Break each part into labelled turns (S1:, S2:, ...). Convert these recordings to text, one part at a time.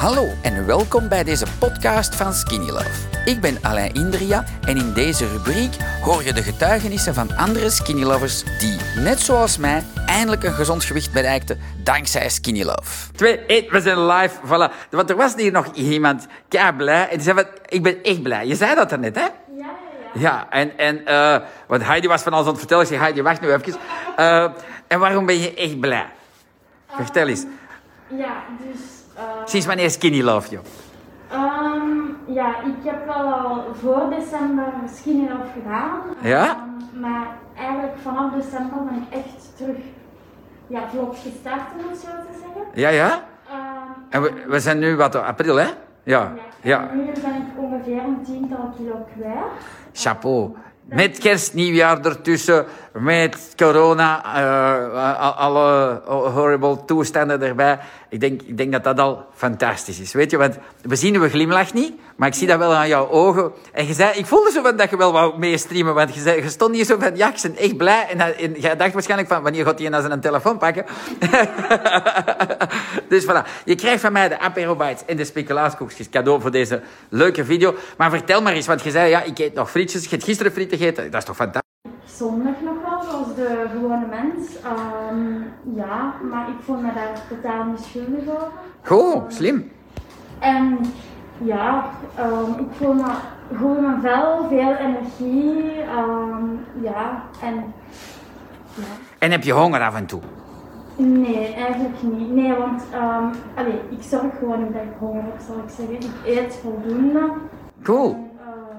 S1: Hallo en welkom bij deze podcast van Skinny Love. Ik ben Alain Indria en in deze rubriek hoor je de getuigenissen van andere Skinny Lovers die, net zoals mij, eindelijk een gezond gewicht bereikten dankzij Skinny Love. Twee, één, we zijn live, voilà. Want er was hier nog iemand, kei blij, en die zei van, ik ben echt blij. Je zei dat net, hè?
S2: Ja, ja, ja.
S1: Ja, en, en eh, want Heidi was van alles aan het vertellen. Ik zei, Heidi, wacht nu even. Eh, en waarom ben je echt blij? Vertel eens.
S2: Ja, dus eh,
S1: Sinds wanneer skinny love je?
S2: ehm, ja, ik heb wel al voor december misschien al gedaan.
S1: Ja?
S2: Ehm, maar eigenlijk vanaf december ben ik echt terug ja, vlot gestart, om het zo te zeggen.
S1: Ja, ja.
S2: Ehm,
S1: En we, we zijn nu, wat, april, hè? Ja,
S2: en
S1: ja.
S2: Nu ben ik ongeveer een tiental kilo kwijt.
S1: Chapeau. Met kerst, nieuwjaar ertussen, met corona, eh, al- alle horrible toestanden erbij. Ik denk, ik denk dat dat al fantastisch is. Weet je, want we zien uw glimlach niet, maar ik zie dat wel aan jouw ogen. En je zei, ik voelde zo van dat je wel wou meestreamen, want je, zei, je stond hier zo van, ja, ik ben echt blij. En, dat- en jij dacht waarschijnlijk van, wanneer gaat hij naar zijn telefoon pakken? dus voilà, je krijgt van mij de Apero Bites en de speculaaskoekjes cadeau voor deze leuke video. Maar vertel maar eens, want je zei, ja, ik eet nog frietjes. Je hebt gisteren frieten gegeten. Dat is toch fantastisch?
S2: Zondag nog wel, zoals de gewone mens. Ehm, ja, maar ik voel me daar totaal niet schuldig over. Ehm,
S1: Goh, slim.
S2: En ja, ehm, ik voel me goed in mijn vel, veel energie. ehm, ja, en ja.
S1: En heb je honger af en toe?
S2: Nee, eigenlijk niet. Nee, want ehm, allee, ik zorg gewoon niet dat ik honger heb, zal ik zeggen. Ik eet voldoende.
S1: Cool.
S2: Ehm,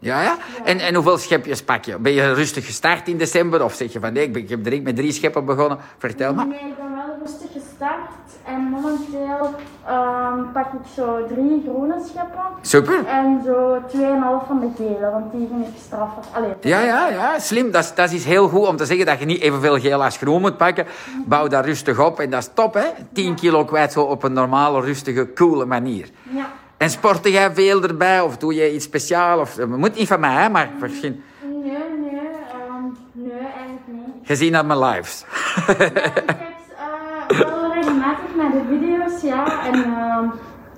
S1: Ja, ja. En, en hoeveel schepjes pak je? Ben je rustig gestart in december? Of zeg je van, nee, ik, ben, ik heb direct met drie scheppen begonnen. Vertel maar.
S2: nee, ik ben wel rustig gestart. En momenteel ehm, pak ik zo drie groene scheppen.
S1: Super.
S2: En zo 2,5 van de gele, want die vind ik straffer. Allee,
S1: Ja, ja, ja, slim. Dat is, dat is heel goed om te zeggen dat je niet evenveel geel als groen moet pakken. Bouw dat rustig op en dat is top, hè? 10 kilo kwijt zo op een normale, rustige, coole manier.
S2: ja.
S1: En sportte jij veel erbij of doe je iets speciaals? Of, het moet niet van mij, hè, maar misschien
S2: Nee, nee, ehm, nee, eigenlijk niet.
S1: gezien uit mijn lives.
S2: Ik kijk eh, wel regelmatig naar de video's, ja. En ehm,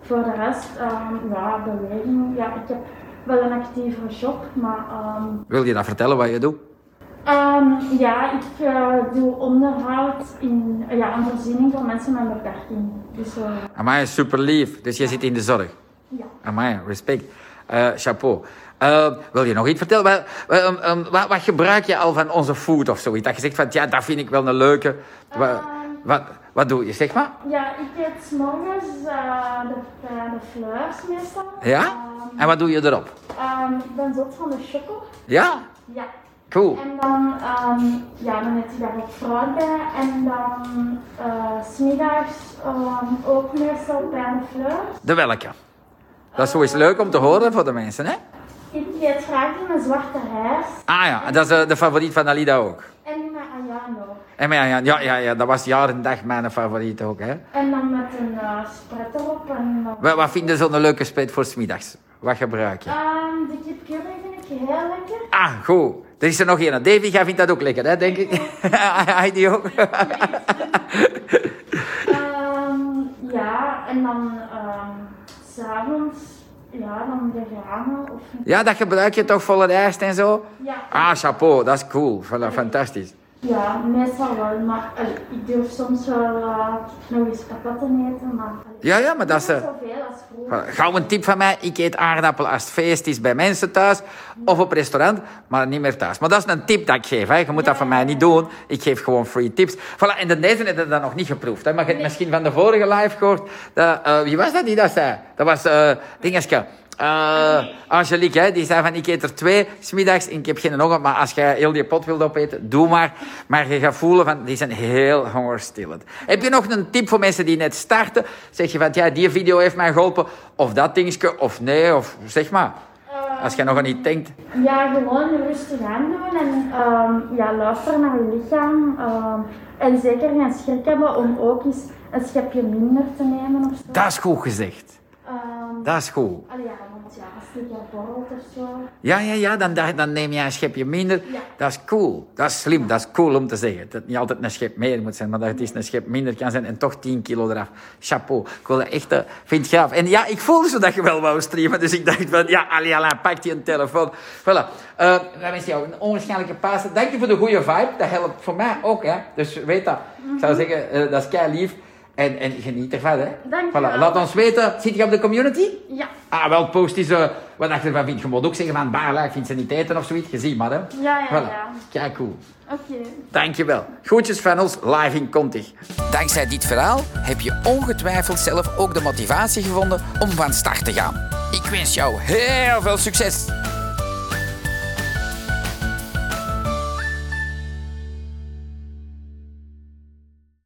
S2: voor de rest, ehm, ja, beweging. Ja, ik heb wel een actievere shop, maar ehm,
S1: Wil je dat vertellen wat je doet?
S2: ehm, ja, ik eh, doe onderhoud in, ja, aan voorziening voor mensen met een beperking. Dus eh,
S1: Amai, super lief. Dus je zit in de zorg.
S2: ja.
S1: Amai, respect. Eh, chapeau. Eh, wil je nog iets vertellen? Wel, wel, ehm, ehm, wat, wat gebruik je al van onze food of zoiets? Dat je zegt van, ja, dat vind ik wel een leuke. Wat,
S2: Ehm.
S1: wat, wat doe je? Zeg maar.
S2: Ja, ik eet s'morgens eh de, eh, de fleurs meestal.
S1: Ja?
S2: Ehm,
S1: En wat doe je erop?
S2: ehm, ik ben zot van de choco.
S1: Ja?
S2: Ja.
S1: Cool.
S2: En dan, ehm, ja, dan heeft hij daar ook fruit bij. En dan eh, s smiddags ehm, ook meestal bij de fleurs.
S1: De welke? Dat is zoiets leuk om te horen voor de mensen, hè?
S2: Ik eet graag die met zwarte rijst
S1: Ah ja, dat is eh, de favoriet van Alida ook.
S2: en die met ayano.
S1: En maar ja, ja, ja, ja, dat was jaar en dag mijn favoriet ook, hè?
S2: En dan met een eh spret erop. En, dan-
S1: Wat, wat vind je zo'n leuke spijt voor smiddags? Wat gebruik je?
S2: Ehm, de kip curry vind ik heel lekker.
S1: Ah, goed. Er is er nog één. Davy, jij vindt dat ook lekker, hè, denk ik? Heidi ook.
S2: Ehm, ja, en dan ehm, s s'avonds, ja, dan de granen. Of,
S1: ja, dat gebruik je toch volle rijst en zo?
S2: ja.
S1: Ah, chapeau, dat is cool. Voilà, fantastisch.
S2: Ja, meestal wel, maar eh, ik durf soms wel eh, nog eens papatten eten, maar...
S1: Ja, ja, maar dat is,
S2: Niet
S1: eh,
S2: zoveel als vroeger.
S1: Voilà. Gauw een tip van mij. Ik eet aardappel als het feest is bij mensen thuis of op restaurant, maar niet meer thuis. Maar dat is een tip dat ik geef. Hè. Je moet dat van mij niet doen. Ik geef gewoon free tips. Voilà. En de deze hebben dat nog niet geproefd. Hè. Maar je hebt misschien van de vorige live gehoord. Dat, eh, wie was dat die dat zei? Dat was eh Dingeske. Eh, Angelique, hè, die zei van ik eet er twee smiddags en ik heb geen honger, maar als jij heel die pot wilt opeten, doe maar. Maar je gaat voelen van, die zijn heel hongerstillend. Heb je nog een tip voor mensen die net starten? Zeg je van, ja, die video heeft mij geholpen, of dat dingetje, of nee, of zeg maar. Als je nog niet denkt.
S2: Ja, gewoon rustig aan doen en ehm, ja, luisteren naar je lichaam. ehm, en zeker geen schrik hebben om ook eens een schepje minder te nemen of zo.
S1: Dat is goed gezegd.
S2: Ehm,
S1: Dat is goed.
S2: allee, ja, want ja, als het een keer borrelt of of zo.
S1: Ja, ja, ja, dan, dan dan neem je een schepje minder.
S2: Ja.
S1: Dat is cool. Dat is slim. Dat is cool om te zeggen. Dat het niet altijd een schep meer moet zijn, maar dat het eens een schep minder kan zijn en toch 10 kilo eraf. Chapeau. Ik wil dat echt, eh, vind het gaaf. En ja, ik voelde zo dat je wel wou streamen, dus ik dacht van, ja, Ali Alain, pak die een telefoon. Voilà. Eh wij wensen jou een onwaarschijnlijke Pasen. Dank je voor de goede vibe. Dat helpt voor mij ook, hè. Dus weet dat. Ik
S2: Mhm.
S1: zou zeggen, eh, dat is kei lief. En, en geniet ervan, hè.
S2: Dank je
S1: voilà.
S2: wel.
S1: Laat ons weten. Zit je op de community?
S2: Ja,
S1: Ah, wel, post is eh, wat dacht je ervan vindt. Je moet ook zeggen van Barla, ik vind ze niet eten of zoiets. Je ziet maar, hè.
S2: ja,
S1: Voilà.
S2: ja.
S1: Kijk cool.
S2: oké.
S1: Dankjewel. Groetjes van ons, live in Contig. Dankzij dit verhaal heb je ongetwijfeld zelf ook de motivatie gevonden om van start te gaan. Ik wens jou heel veel succes.